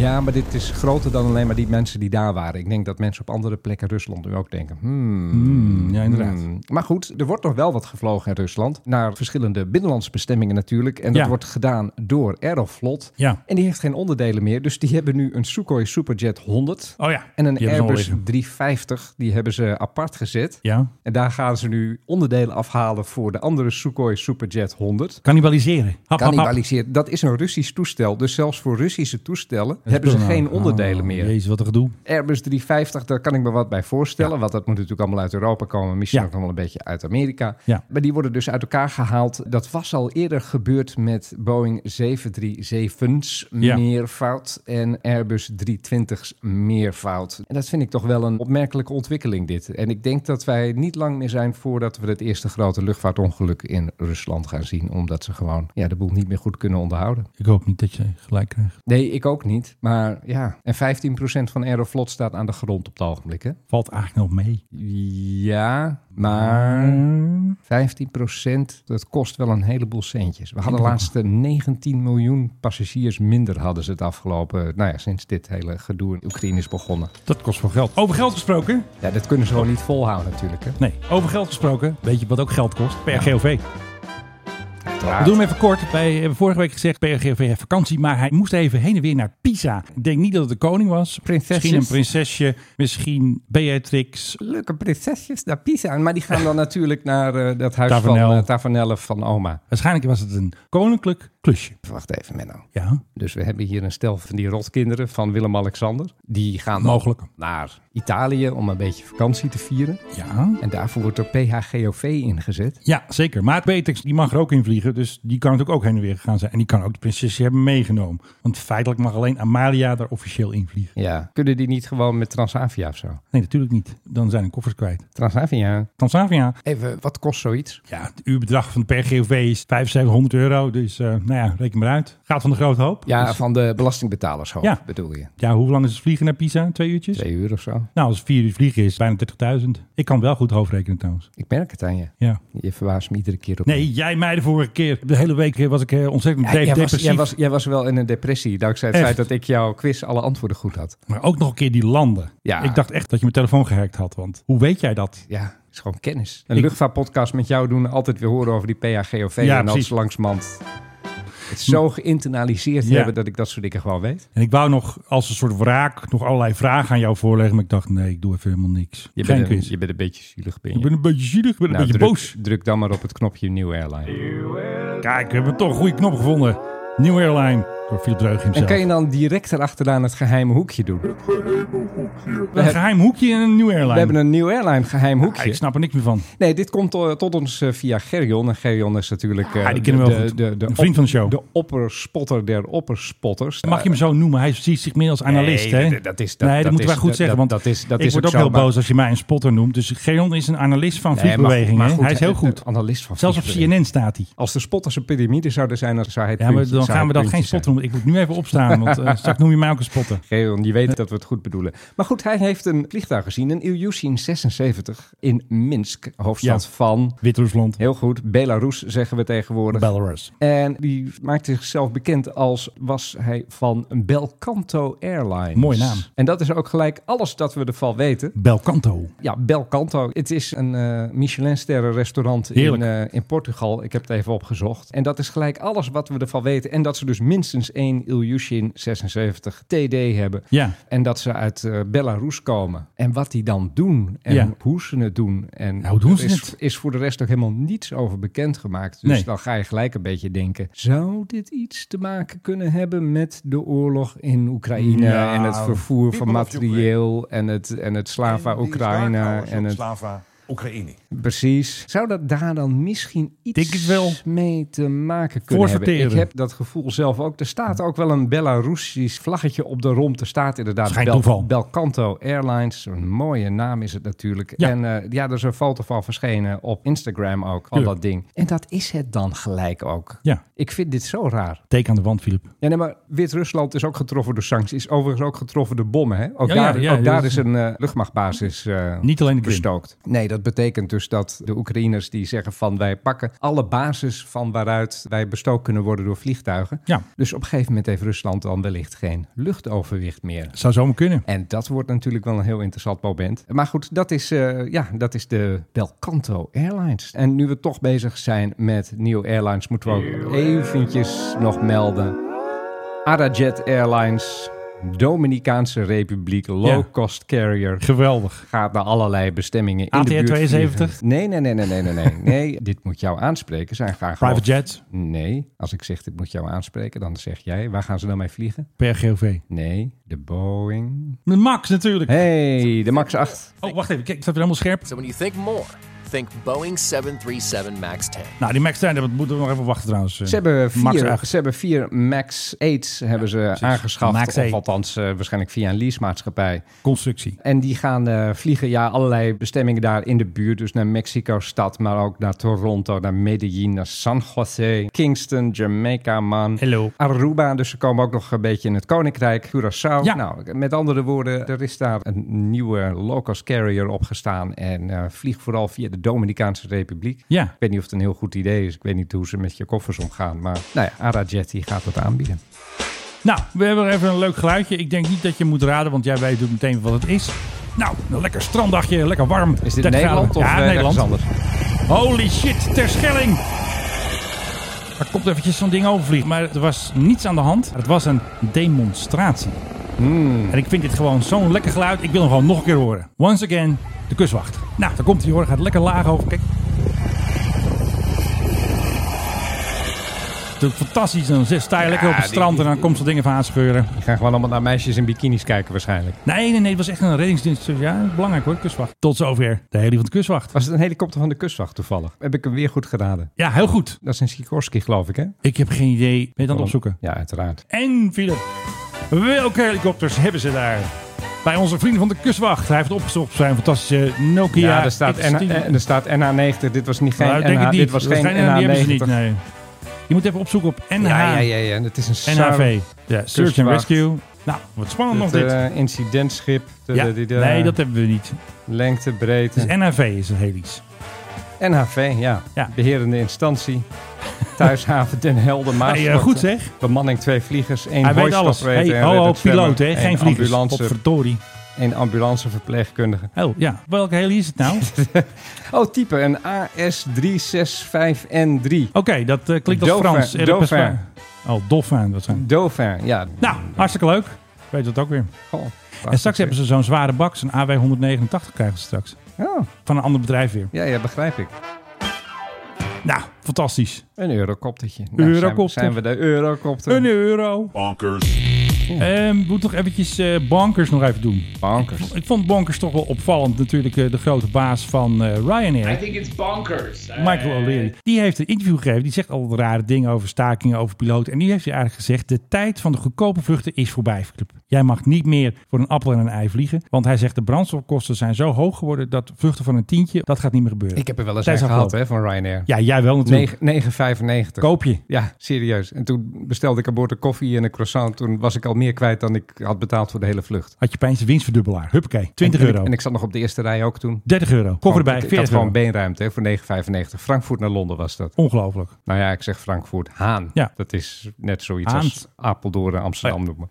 Ja, maar dit is groter dan alleen maar die mensen die daar waren. Ik denk dat mensen op andere plekken Rusland nu ook denken. hmm, Hmm, ja, inderdaad. hmm. Maar goed, er wordt nog wel wat gevlogen in Rusland. Naar verschillende binnenlandse bestemmingen natuurlijk. En dat Ja. wordt gedaan door Aeroflot. Ja. En die heeft geen onderdelen meer. Dus die hebben nu een Sukhoi Superjet 100. Oh ja. En een Die hebben ze al Airbus liggen. 350. Die hebben ze apart gezet. Ja. En daar gaan ze nu onderdelen afhalen voor de andere Sukhoi Superjet 100. Cannibaliseren. Hap, hap, hap. Cannibaliseerd. Dat is een Russisch toestel. Dus zelfs voor Russische toestellen hebben ze Nou, geen nou, onderdelen meer. Jezus, wat een gedoe. Airbus 350, daar kan ik me wat bij voorstellen. Want dat moet natuurlijk allemaal uit Europa komen. Misschien Ja. ook nog wel een beetje uit Amerika. Ja. Maar die worden dus uit elkaar gehaald. Dat was al eerder gebeurd met Boeing 737's Ja. meervoud. En Airbus 320's meervoud. En dat vind ik toch wel een opmerkelijke ontwikkeling dit. En ik denk dat wij niet lang meer zijn voordat we het eerste grote luchtvaartongeluk in Rusland gaan zien. Omdat ze gewoon ja, de boel niet meer goed kunnen onderhouden. Ik hoop niet dat je gelijk eh, krijgt. Nee, ik ook niet. Maar ja, en 15% van Aeroflot staat aan de grond op het ogenblik, hè? Valt eigenlijk nog mee. Ja, maar 15% dat kost wel een heleboel centjes. We hadden de laatste 19 miljoen passagiers minder hadden ze het afgelopen, nou ja, sinds dit hele gedoe in Oekraïne is begonnen. Dat kost wel geld. Over geld gesproken? Ja, dat kunnen ze gewoon niet volhouden natuurlijk, hè? Nee. Over geld gesproken. Weet je wat ook geld kost? PRGOV. Uiteraard. We doen hem even kort. Wij hebben vorige week gezegd, PRGOV heeft vakantie. Maar hij moest even heen en weer naar Pisa. Ik denk niet dat het de koning was. Prinsesjes. Misschien een prinsesje. Misschien Beatrix. Leuke prinsesjes naar Pisa. Maar die gaan dan natuurlijk naar eh, dat huis Tavernel. van eh, Tavernelle van oma. Waarschijnlijk was het een koninklijk klusje. Wacht even, Menno. Ja. Dus we hebben hier een stel van die rotkinderen van Willem-Alexander. Die gaan dan Mogelijk. naar Italië om een beetje vakantie te vieren. Ja. En daarvoor wordt er PHGOV ingezet. Ja, zeker. Maar Beatrix, die mag er ook in vliegen. Dus die kan natuurlijk ook heen en weer gegaan zijn. En die kan ook de prinsesje hebben meegenomen. Want feitelijk mag alleen Amalia daar officieel in vliegen. Ja, kunnen die niet gewoon met Transavia of zo? Nee, natuurlijk niet. Dan zijn de koffers kwijt. Transavia. Transavia. Even, wat kost zoiets? Ja, het uurbedrag van de PRGOV is 7500 euro. Dus eh, nou Nou ja, reken maar uit. Gaat van de grote hoop. Ja, Dus- van de belastingbetalershoop Ja. bedoel je. ja, hoe lang is het vliegen naar Pisa? Twee uurtjes? Twee uur of zo. Nou, als het vier uur vliegen is, bijna 30.000. Ik kan wel goed hoofdrekenen trouwens. Ik merk het aan je. Ja. Je verbaast me iedere keer op. Nee, jij mij de vorige keer. De hele week eh, was ik eh, ontzettend Ja, de- jij, was, depressief. jij, was, jij was wel in een depressie dankzij het Echt. feit dat ik jouw quiz alle antwoorden goed had. Maar ook nog een keer die landen. Ja. Ik dacht echt dat je mijn telefoon gehackt had. Want hoe weet jij dat? Ja, is gewoon kennis. Een Ik- luchtvaartpodcast met jou doen, altijd weer horen over die PHGOV Ja, en alles precies. langsmand. Het is zo geïnternaliseerd Ja. hebben dat ik dat soort dingen gewoon weet. En ik wou nog als een soort wraak nog allerlei vragen aan jou voorleggen. Maar ik dacht, nee, ik doe even helemaal niks. Je Geen bent, een, quiz. je bent een beetje zielig, ben je? Ik ben een beetje zielig, ik ben Nou, een beetje druk, boos. Druk dan maar op het knopje New Airline. Kijk, we hebben toch een goede knop gevonden. New Airline door Philip Dreug En himself. kan je dan direct erachteraan het geheime hoekje doen? Een geheim hoekje en een New Airline. We hebben een nieuw airline geheim hoekje. ik snap er niks meer van. Nee, dit komt to- tot ons eh, via Gerion. En Gerion is natuurlijk eh, Ah, die kennen we wel de, goed. de, de, Een vriend van de show. De opperspotter der opperspotters. Eh, Mag je hem zo noemen? Hij ziet zich meer als analist, Nee, hè? dat- dat is- dat- nee, dat, dat moeten wij is- goed dat- zeggen, want dat- dat is- dat ik is word ook ook zo, heel maar- boos als je mij een spotter noemt. Dus Geon is een analist van Nee, maar- vliegbewegingen. maar hè? goed, eh, hij is heel goed. Een analist van Zelfs op vliegbewegingen. CNN staat hij. Als de spotters een piramide zouden zijn, dan zou hij het Ja, maar puntje- dan zou gaan we hij dat het geen puntje spotter noemen. Ik moet nu even <laughs> opstaan, want eh, straks noem je mij ook een spotter. Geon, je weet dat we het goed bedoelen. Maar goed, hij heeft een vliegtuig gezien, een Ilyushin 76 in Minsk, hoofdstad Ja. van... Wit-Rusland. Heel goed, Belarus zeggen we tegenwoordig. Belarus. En die maakt zichzelf bekend als was hij van Belcanto Airlines. Mooie naam. En dat is ook gelijk alles dat we ervan weten. Belcanto. Ja, Belcanto. Het is een eh Michelinsterren restaurant in, Heerlijk. eh, in Portugal. Ik heb het even opgezocht. En dat is gelijk alles wat we ervan weten. En dat ze dus minstens één Ilyushin 76 TD hebben. Ja. En dat ze uit eh, Belarus komen. En wat die dan doen en Ja. hoe ze het doen. En Nou, hoe doen ze er is, het? is voor de rest ook helemaal niets over bekendgemaakt. Dus Nee. dan ga je gelijk een beetje denken... zou dit iets te maken kunnen hebben met de oorlog in Oekraïne... Nou, en het vervoer van people of Ukraine. materieel en het, en het Slava Oekraïne. En het, Slava Oekraïne. precies. Zou dat daar dan misschien iets Denk het wel. mee te maken kunnen hebben? Ik Voorsorteren. heb dat gevoel zelf ook. Er staat ook wel een Belarusisch vlaggetje op de romp. Er staat inderdaad Dat is geen toeval. Belcanto Airlines. Een mooie naam is het natuurlijk. Ja. En eh, ja, er is een foto van verschenen op Instagram ook, van Tuurlijk. dat ding. En dat is het dan gelijk ook. Ja. Ik vind dit zo raar. Teken aan de wand, Filip. Ja, nee, maar Wit-Rusland is ook getroffen door sancties. Is overigens ook getroffen door bommen. Hè? Ook Ja, ja, daar, ja, ook dat daar is- is een eh, luchtmachtbasis eh, Niet alleen de Krim. bestookt. Nee, dat betekent dus dat de Oekraïners die zeggen van... wij pakken alle basis van waaruit wij bestookt kunnen worden door vliegtuigen. Ja. Dus op een gegeven moment heeft Rusland dan wellicht geen luchtoverwicht meer. Zou zomaar kunnen. En dat wordt natuurlijk wel een heel interessant moment. Maar goed, dat is, eh, ja, dat is de Belcanto Airlines. En nu we toch bezig zijn met New Airlines, moeten we ook eventjes nog melden. Arajet Airlines, Dominicaanse Republiek, low-cost carrier. Geweldig. Gaat naar allerlei bestemmingen in ATR de buurt. vliegen. 72? Nee, nee, nee, nee, nee, nee, nee. nee. <laughs> Dit moet jou aanspreken. Zijn graag Private gewoon- jets. Nee, als ik zeg dit moet jou aanspreken, dan zeg jij, waar gaan ze dan mee vliegen? Per GOV. Nee, de Boeing. Met Max natuurlijk. Hey, de Max 8. Oh, wacht even. Kijk, staat weer helemaal scherp. So when you think more, think Boeing 737 MAX 10. Nou, die Max 10, dat moeten we nog even wachten trouwens. eh. Ze hebben Max vier, echt. ze hebben vier Max 8's hebben ze aangeschaft. Max of 8. althans, eh, waarschijnlijk via een leasemaatschappij. Constructie. En die gaan eh, vliegen, ja, allerlei bestemmingen daar in de buurt. Dus naar Mexico-stad, maar ook naar Toronto, naar Medellin, naar San Jose, Kingston, Jamaica, man. Hello. Aruba, dus ze komen ook nog een beetje in het Koninkrijk, Curaçao. Ja. Nou, met andere woorden, er is daar een nieuwe low-cost carrier opgestaan. En eh vlieg vooral via de Dominicaanse Republiek. Ja. Ik weet niet of het een heel goed idee is. Ik weet niet hoe ze met je koffers omgaan. Maar nou ja, Arajet die gaat dat aanbieden. Nou, we hebben even een leuk geluidje. Ik denk niet dat je moet raden, want jij weet ook meteen wat het is. Nou, een lekker stranddagje, lekker warm. Is dit 30 Nederland graden. of ja, eh, Nederland. ergens anders? Holy shit, Terschelling. Er komt eventjes zo'n ding overvliegen, maar er was niets aan de hand. Het was een demonstratie. Hmm. En ik vind dit gewoon zo'n lekker geluid. Ik wil hem gewoon nog een keer horen. Once again, de kuswacht. Nou, daar komt hij hoor. Gaat lekker laag over. Kijk. Natuurlijk fantastisch. Dan zit- sta je lekker op het die- strand en dan komt zo'n ding even aanscheuren. Die gaan gewoon allemaal naar meisjes in bikinis kijken waarschijnlijk. Nee, nee, nee. Het was echt een reddingsdienst. Dus Ja, belangrijk hoor, kuswacht. Tot zover de heli van de kuswacht. Was het een helikopter van de kustwacht toevallig? Heb ik hem weer goed geraden? Ja, heel goed. Dat is een Sikorsky, geloof ik, hè? Ik heb geen idee. Ben je dan aan het opzoeken? Oh. Ja, uiteraard. En Philip, welke helikopters hebben ze daar? Bij onze vrienden van de kuswacht. Hij heeft het opgezocht op zijn fantastische Nokia. Ja, er staat, X10. NH, eh, er staat NH90. Dit was niet geen Nou, ik denk NH, het niet. dit was geen die hebben ze NH90. niet, nee. Je moet even opzoeken op NH. Ja, ja, ja, ja. Het is een NHV. Ja, Search and Rescue. Nou, wat spannend Oh, nog Het dit. eh, incidentschip. Ja, nee, dat hebben we niet. eh, Lengte, breedte. Dus NHV is een helisch. NHV, ja. Beherende instantie. Thuishaven Den Helder, Maas. Hey, eh, goed zeg. Bemanning twee vliegers, één Hij weet hooistopper, alles. Hey, één ho, ho, reddend piloot, zwemmer, hè. Geen één vliegers. ambulance- Potverdorie. één ambulanceverpleegkundige. Oh, ja. Welke heli is het <laughs> nou? oh, type. Een AS365N3. Oké, dat eh, klinkt als Dauphin, Frans. Eh, dat is Dauphin. waar. Oh, Dauphin. Dat zijn. Dauphin, ja. Oh, Nou, hartstikke leuk. Weet dat ook weer. en straks hebben ze zo'n zware bak, zo'n AW189 krijgen ze straks. Van een ander bedrijf weer. Oh, Ja, ja, begrijp ik. Nou, fantastisch. Een eurocoptertje. Nou, zijn we- Eurocopter. Zijn we de eurocopter? Een euro. Bonkers. Ehm, moet toch eventjes eh Bonkers nog even doen. Bonkers. Ik, ik vond Bonkers toch wel opvallend. Natuurlijk eh, de grote baas van eh, I Ryanair. think it's bonkers. Eh. Michael O'Leary. Die heeft een interview gegeven. Die zegt al rare dingen over stakingen, over piloten. En nu heeft hij eigenlijk gezegd... de tijd van de goedkope vluchten is voorbij, Flip. Jij mag niet meer voor een appel en een ei vliegen. Want hij zegt de brandstofkosten zijn zo hoog geworden... dat vluchten van een tientje, dat gaat niet meer gebeuren. Ik heb er wel eens Tijd een is gehad afgelopen. hè, van Ryanair. Ja, jij wel natuurlijk. Negen- 9,95. Koop je. Ja, serieus. En toen bestelde ik aan boord een koffie en een croissant. Toen was ik al meer kwijt dan ik had betaald voor de hele vlucht. Had je pijn de winstverdubbelaar. Huppakee, 20 En- en euro. ik- En ik zat nog op de eerste rij ook toen. 30 euro. Koffer Gewoon- erbij, Ik, ik had 40 gewoon euro. beenruimte hè, voor 9,95. Frankfurt naar Londen was dat. Ongelooflijk. Nou ja, ik zeg Frankfurt. Haan. Ja. Dat is net zoiets Haan. als Apeldoorn en Amsterdam noemen.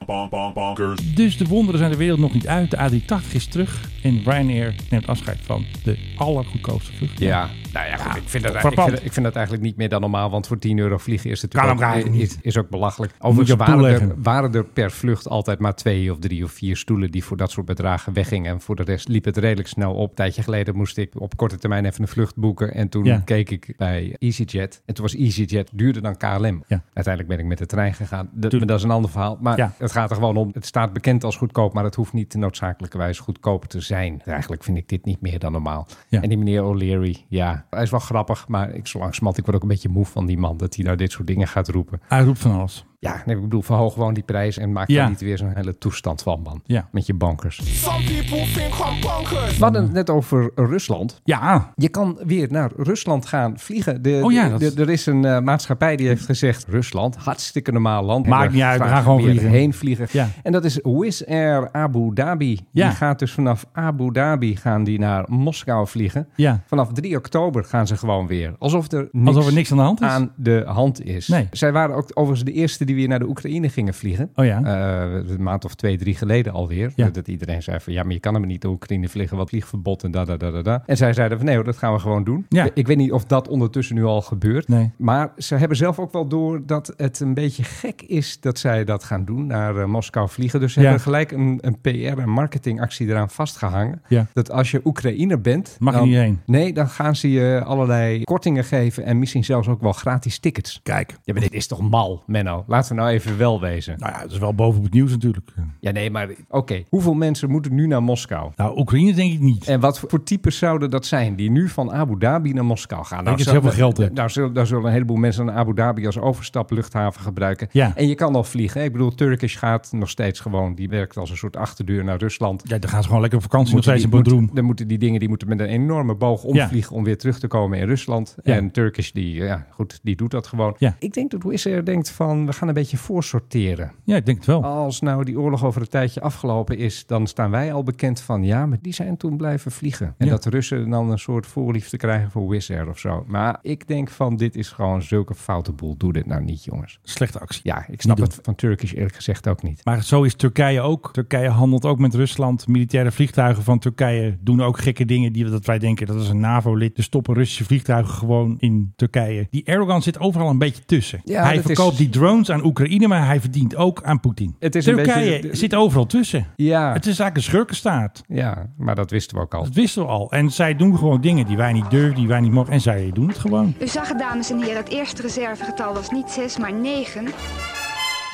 bonkers. Dus de wonderen zijn de wereld nog niet uit. De A380 is terug en Ryanair neemt afscheid van de allergoedkoopste vlucht. Ja, nou ja, goed, ik, vind dat, ik, frappant. vind, dat- ik vind dat eigenlijk niet meer dan normaal. Want voor 10 euro vliegen is het Kan natuurlijk hem ook- eigenlijk is, is ook belachelijk. Moet je Overigens op waren toe er, leggen. waren er per vlucht altijd maar twee of drie of vier stoelen die voor dat soort bedragen weggingen. En voor de rest liep het redelijk snel op. Een tijdje geleden moest ik op korte termijn even een vlucht boeken. En toen Ja. keek ik bij EasyJet. En toen was EasyJet duurder dan KLM. Ja. Uiteindelijk ben ik met de trein gegaan. Dat, Tuurlijk. maar dat is een ander verhaal. Maar Ja. het gaat er gewoon om. Het staat bekend als goedkoop, maar het hoeft niet noodzakelijkerwijs goedkoper te zijn. Eigenlijk vind ik dit niet meer dan normaal. Ja. En die meneer O'Leary, ja, hij is wel grappig, maar ik, zo langzamerhand, ik word ook een beetje moe van die man dat hij nou dit soort dingen gaat roepen. Hij roept van alles. Ja, nee, ik bedoel, verhoog gewoon die prijs en maak Ja. daar niet weer zo'n hele toestand van, man. Ja. Met je bankers. Some people think I'm bonkers. We hadden het net over Rusland. Ja. Je kan weer naar Rusland gaan vliegen. De, Oh ja, de- dat- de- er is een eh, maatschappij die heeft gezegd... Rusland, hartstikke normaal land. Maakt En we niet uit, we graag gaan gewoon weer vliegen. heen vliegen. Ja. En dat is Wizz Air Abu Dhabi. Ja. Die gaat dus vanaf Abu Dhabi gaan die naar Moskou vliegen. Ja. Vanaf 3 oktober gaan ze gewoon weer. Alsof er niks, Alsof er niks aan de hand is? de hand is. Nee. Zij waren ook overigens de eerste die weer naar de Oekraïne gingen vliegen. Oh ja. Eh, een maand of twee, drie geleden alweer. Ja. Dat iedereen zei van ja, maar je kan hem niet de Oekraïne vliegen, wat vliegverbod en da da da da. da. En zij zeiden van nee, hoor, dat gaan we gewoon doen. Ja. Ik weet niet of dat ondertussen nu al gebeurt. Nee. Maar ze hebben zelf ook wel door dat het een beetje gek is dat zij dat gaan doen, naar eh, Moskou vliegen. Dus ze Ja. hebben gelijk een, een PR- en marketingactie eraan vastgehangen. Ja. Dat als je Oekraïner bent... Mag je dan- niet heen. Nee, dan gaan ze je allerlei kortingen geven en misschien zelfs ook wel gratis tickets. Kijk. Ja, maar dit is toch mal, Menno? Laten we nou even wel wezen. Nou ja, dat is wel bovenop het nieuws natuurlijk. Ja, nee, maar oké. Hoeveel mensen moeten nu naar Moskou? Nou, Oekraïne denk ik niet. En wat voor types zouden dat zijn die nu van Abu Dhabi naar Moskou gaan? denk dat je zullen- heel veel geld hebt. Nou, zullen, daar zullen een heleboel mensen aan Abu Dhabi als overstapluchthaven gebruiken. Ja. En je kan al vliegen. hè? Ik bedoel, Turkish gaat nog steeds gewoon. Die werkt als een soort achterdeur naar Rusland. Ja, dan gaan ze gewoon lekker op vakantie nog Moeten steeds in die- moeten- Bodrum. Dan moeten die dingen die moeten met een enorme boog omvliegen om weer terug te komen in Rusland. Ja. En Turkish, die, ja, goed, die doet dat gewoon. Ja. Ik denk dat Wizz Air denkt van, we gaan een beetje voorsorteren. Ja, ik denk het wel. Als nou die oorlog over een tijdje afgelopen is, dan staan wij al bekend van ja, maar die zijn toen blijven vliegen. En Ja. dat de Russen dan een soort voorliefde krijgen voor Wizz Air of zo. Maar ik denk van dit is gewoon zulke foute boel. Doe dit nou niet, jongens. Slechte actie. Ja, ik snap doen. het van Turkish eerlijk gezegd ook niet. Maar zo is Turkije ook. Turkije handelt ook met Rusland. Militaire vliegtuigen van Turkije doen ook gekke dingen die dat wij denken dat is een NAVO-lid. Dus stoppen Russische vliegtuigen gewoon in Turkije. Die Erdogan zit overal een beetje tussen. Ja, hij dat verkoopt is- die drones aan Oekraïne, maar hij verdient ook aan Poetin. Het is een Turkije beetje- zit overal tussen. Ja. Het is eigenlijk een schurkenstaat. Ja, maar dat wisten we ook al. Dat wisten we al. En zij doen gewoon dingen die wij niet durven, die wij niet mogen. En zij doen het gewoon. U zag het, dames en heren, het eerste reservegetal was niet 6, maar 9.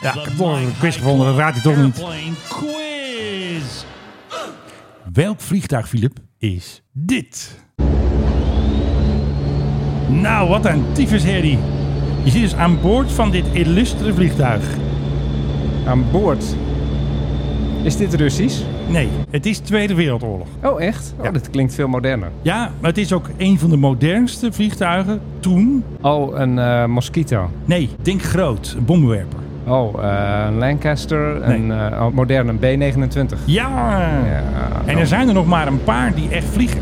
Ja, ik heb toch een quiz gevonden. Dat raadt hij toch niet. quiz. Welk vliegtuig, Filip, is dit? Nou, wat een tyfusherrie. Je zit dus aan boord van dit illustere vliegtuig. Aan boord Is dit Russisch? Nee, het is Tweede Wereldoorlog. Oh, echt? Oh, dat klinkt veel moderner. Ja, maar het is ook een van de modernste vliegtuigen toen. Oh, een eh, Mosquito. Nee, denk groot, een bommenwerper. Oh, eh, een Lancaster, een eh, oh, moderne B29. Ja! En er zijn er nog maar een paar die echt vliegen.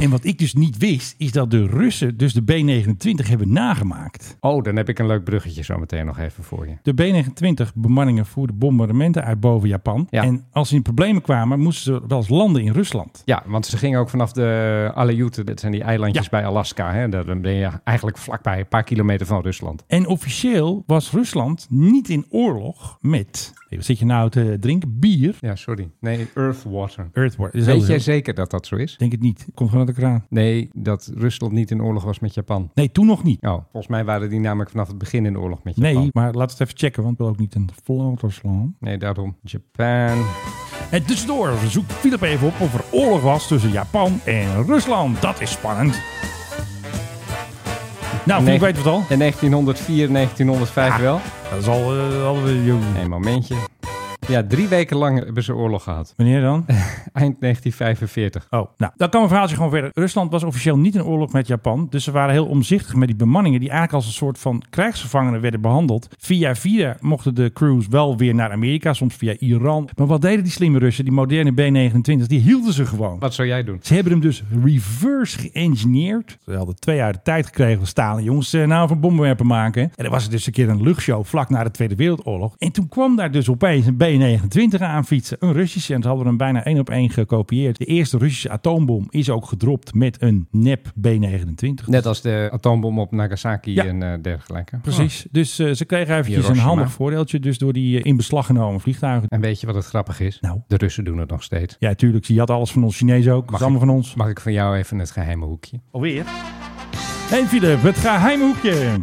En wat ik dus niet wist, is dat de Russen dus de B-29 hebben nagemaakt. Oh, dan heb ik een leuk bruggetje zo meteen nog even voor je. De B-29 bemanningen voerden bombardementen uit boven Japan. En als ze in problemen kwamen, moesten ze wel eens landen in Rusland. Ja, want ze gingen ook vanaf de Aleuten, dat zijn die eilandjes bij Alaska. Hè? Daar ben je eigenlijk vlakbij, een paar kilometer van Rusland. En officieel was Rusland niet in oorlog met... Hey, Wat zit je nou te drinken? Bier? Ja, sorry. Nee, Earth Water. Earth War. Weet jij zeker dat dat zo is? Denk het niet. Komt gewoon uit de kraan. Nee, dat Rusland niet in oorlog was met Japan. Nee, toen nog niet. Oh, volgens mij waren die namelijk vanaf het begin in oorlog met Japan. Nee, maar laten we het even checken, want ik wil ook niet een flouter slaan. Nee, daarom. Japan. En tussendoor zoekt Philip even op of er oorlog was tussen Japan en Rusland. Dat is spannend. Nou, Nee. Philip weet het al. In 1904, 1905 wel. Dat is al... eh, al eh, joh. Een momentje. Ja, drie weken lang hebben ze oorlog gehad. Wanneer dan? Eind 1945. Oh, nou, dan kan mijn verhaaltje gewoon verder. Rusland was officieel niet in oorlog met Japan, dus ze waren heel omzichtig met die bemanningen die eigenlijk als een soort van krijgsgevangenen werden behandeld. Via via mochten de crews wel weer naar Amerika, soms via Iran. Maar wat deden die slimme Russen, die moderne B-29, die hielden ze gewoon. Wat zou jij doen? Ze hebben hem dus reverse geëngineerd. Ze hadden twee jaar de tijd gekregen van Stalin. Jongens, eh, nou van bommenwerpen maken. En er was dus een keer een luchtshow vlak na de Tweede Wereldoorlog. En toen kwam daar dus opeens een B-29 aan fietsen. Een Russische. En ze hadden hem bijna één op één gekopieerd. De eerste Russische atoombom is ook gedropt met een nep B-29. Net als de atoombom op Nagasaki Ja. en eh, dergelijke. Precies. Dus eh, ze kregen eventjes Ah. Hiroshima. een handig voordeeltje. Dus door die eh, in beslag genomen vliegtuigen. En weet je wat het grappig is? Nou. De Russen doen het nog steeds. Ja, tuurlijk. Ze had alles van ons Chinezen ook. Dat is allemaal van ons. Mag ik van jou even het geheime hoekje? Alweer. Hey Philip, het geheime hoekje.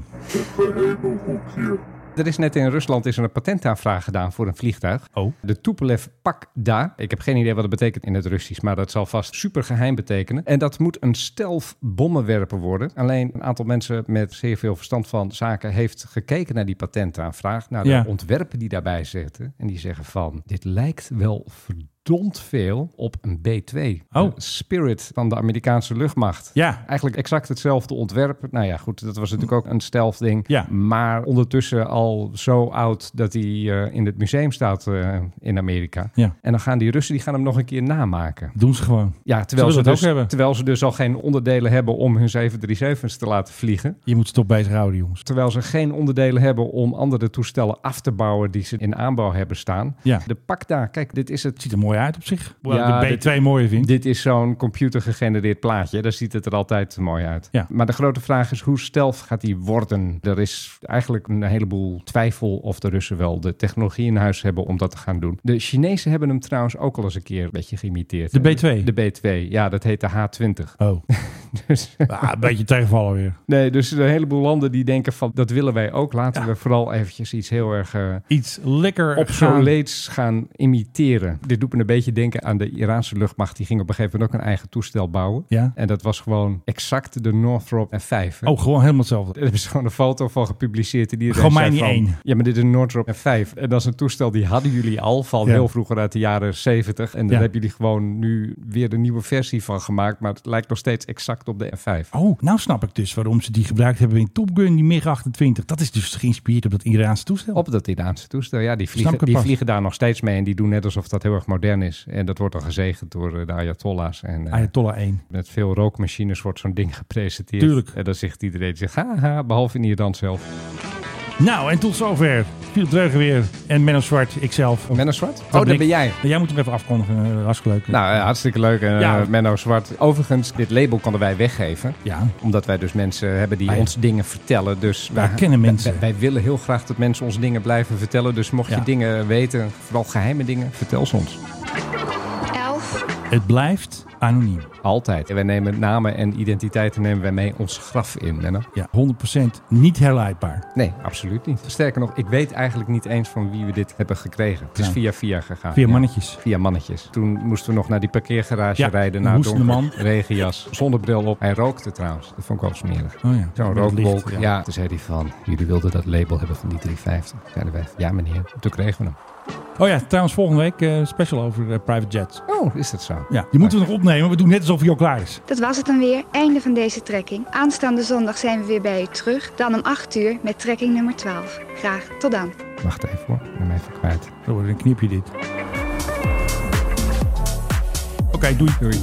Er is net in Rusland is er een patentaanvraag gedaan voor een vliegtuig. Oh. De Tupolev Pakda. Ik heb geen idee wat het betekent in het Russisch, maar dat zal vast supergeheim betekenen. En dat moet een stealth bommenwerper worden. Alleen een aantal mensen met zeer veel verstand van zaken heeft gekeken naar die patentaanvraag, naar de Ja. ontwerpen die daarbij zitten. En die zeggen van, dit lijkt wel verdomd veel op een B-2. Oh. De Spirit van de Amerikaanse luchtmacht. Ja. Eigenlijk exact hetzelfde ontwerp. Nou ja, goed, dat was natuurlijk ook een stealth ding. Ja. Maar ondertussen al zo oud dat hij eh, in het museum staat eh, in Amerika. Ja. En dan gaan die Russen die gaan hem nog een keer namaken. Doen ze gewoon. Ja, terwijl Ze ze, willen het dus, ook hebben. terwijl ze dus al geen onderdelen hebben om hun 737's te laten vliegen. Je moet ze toch bezighouden, jongens. Terwijl ze geen onderdelen hebben om andere toestellen af te bouwen die ze in aanbouw hebben staan. Ja. De Pakda, kijk, dit is het Ziet er mooi uit op zich. Hoewel Ja, ik de B2 dit- mooier vind. Dit is zo'n computergegenereerd plaatje. Daar ziet het er altijd mooi uit. Ja. Maar de grote vraag is, hoe stealth gaat die worden? Er is eigenlijk een heleboel twijfel of de Russen wel de technologie in huis hebben om dat te gaan doen. De Chinezen hebben hem trouwens ook al eens een keer een beetje geïmiteerd. De hè? B2? De B2, ja, dat heet de H20. <laughs> Oh, Dus, ah, <laughs> een beetje tegenvallen weer. nee, dus een heleboel landen die denken van, dat willen wij ook. Laten we vooral eventjes iets heel erg... eh, Iets lekker gaan. obsoleets gaan imiteren. Dit doet me een beetje denken aan de Iraanse luchtmacht. Die ging op een gegeven moment ook een eigen toestel bouwen. Ja. En dat was gewoon exact de Northrop F5. hè. Oh, gewoon helemaal hetzelfde. <laughs> Er hebben ze gewoon een foto van gepubliceerd. en Die Gewoon zei mij niet van, één. Ja, maar dit is een Northrop F5. En dat is een toestel die hadden jullie al van Ja. heel vroeger uit de jaren 70. En daar Ja. hebben jullie gewoon nu weer een nieuwe versie van gemaakt. Maar het lijkt nog steeds exact op de F5. Oh, nou snap ik dus waarom ze die gebruikt hebben in Top Gun, die MiG-28. Dat is dus geïnspireerd op dat Iraanse toestel. Op dat Iraanse toestel, ja. Die Snap ik vliegen, het die pas. vliegen daar nog steeds mee en die doen net alsof dat heel erg modern is. En dat wordt dan gezegend door eh, de Ayatollahs. En eh, Ayatollah 1. met veel rookmachines wordt zo'n ding gepresenteerd. Tuurlijk. En dan zegt iedereen, zegt, haha, behalve in Iran zelf. Nou, en tot zover. Philip Dreugen weer en Menno Zwart, ikzelf. Menno Zwart? Oh, dat ben jij. Maar jij moet hem even afkondigen. eh, Hartstikke leuk. Nou, eh, hartstikke leuk. eh, Ja. Menno Zwart. Overigens, dit label konden wij weggeven. Ja. Omdat wij dus mensen hebben die Ah, ja. ons dingen vertellen. Dus Wij kennen mensen. Wij, wij willen heel graag dat mensen ons dingen blijven vertellen. Dus mocht Ja. je dingen weten, vooral geheime dingen, vertel ze ons. 11, Het blijft anoniem. Altijd. En wij nemen namen en identiteiten nemen wij mee ons graf in. Menno. Ja, 100% niet herleidbaar. Nee, absoluut niet. Sterker nog, ik weet eigenlijk niet eens van wie we dit hebben gekregen. Het is Ja. via via gegaan. Nou. Via Ja. mannetjes. Via mannetjes. Toen moesten we nog naar die parkeergarage Ja, rijden. een Naar hoestende donker, man. Regenjas. Zonnebril op. Hij rookte trouwens. Dat vond ik wel smerig. Oh ja. Zo'n Met het licht, rookwolk. ja. Ja. Toen zei hij van, jullie wilden dat label hebben van die 350. Zeiden wij, ja meneer. Toen kregen we hem. Oh ja, trouwens, volgende week eh, special over eh, private jets. Oh, is dat zo? Ja, die moeten we nog opnemen. We doen net alsof hij al klaar is. Dat was het dan weer. Einde van deze trekking. Aanstaande zondag zijn we weer bij u terug. Dan om 8 uur met trekking nummer 12. Graag tot dan. Wacht even hoor, ik ben hem even kwijt. Zo wordt een kniepje dit. Oké, doei. Doei.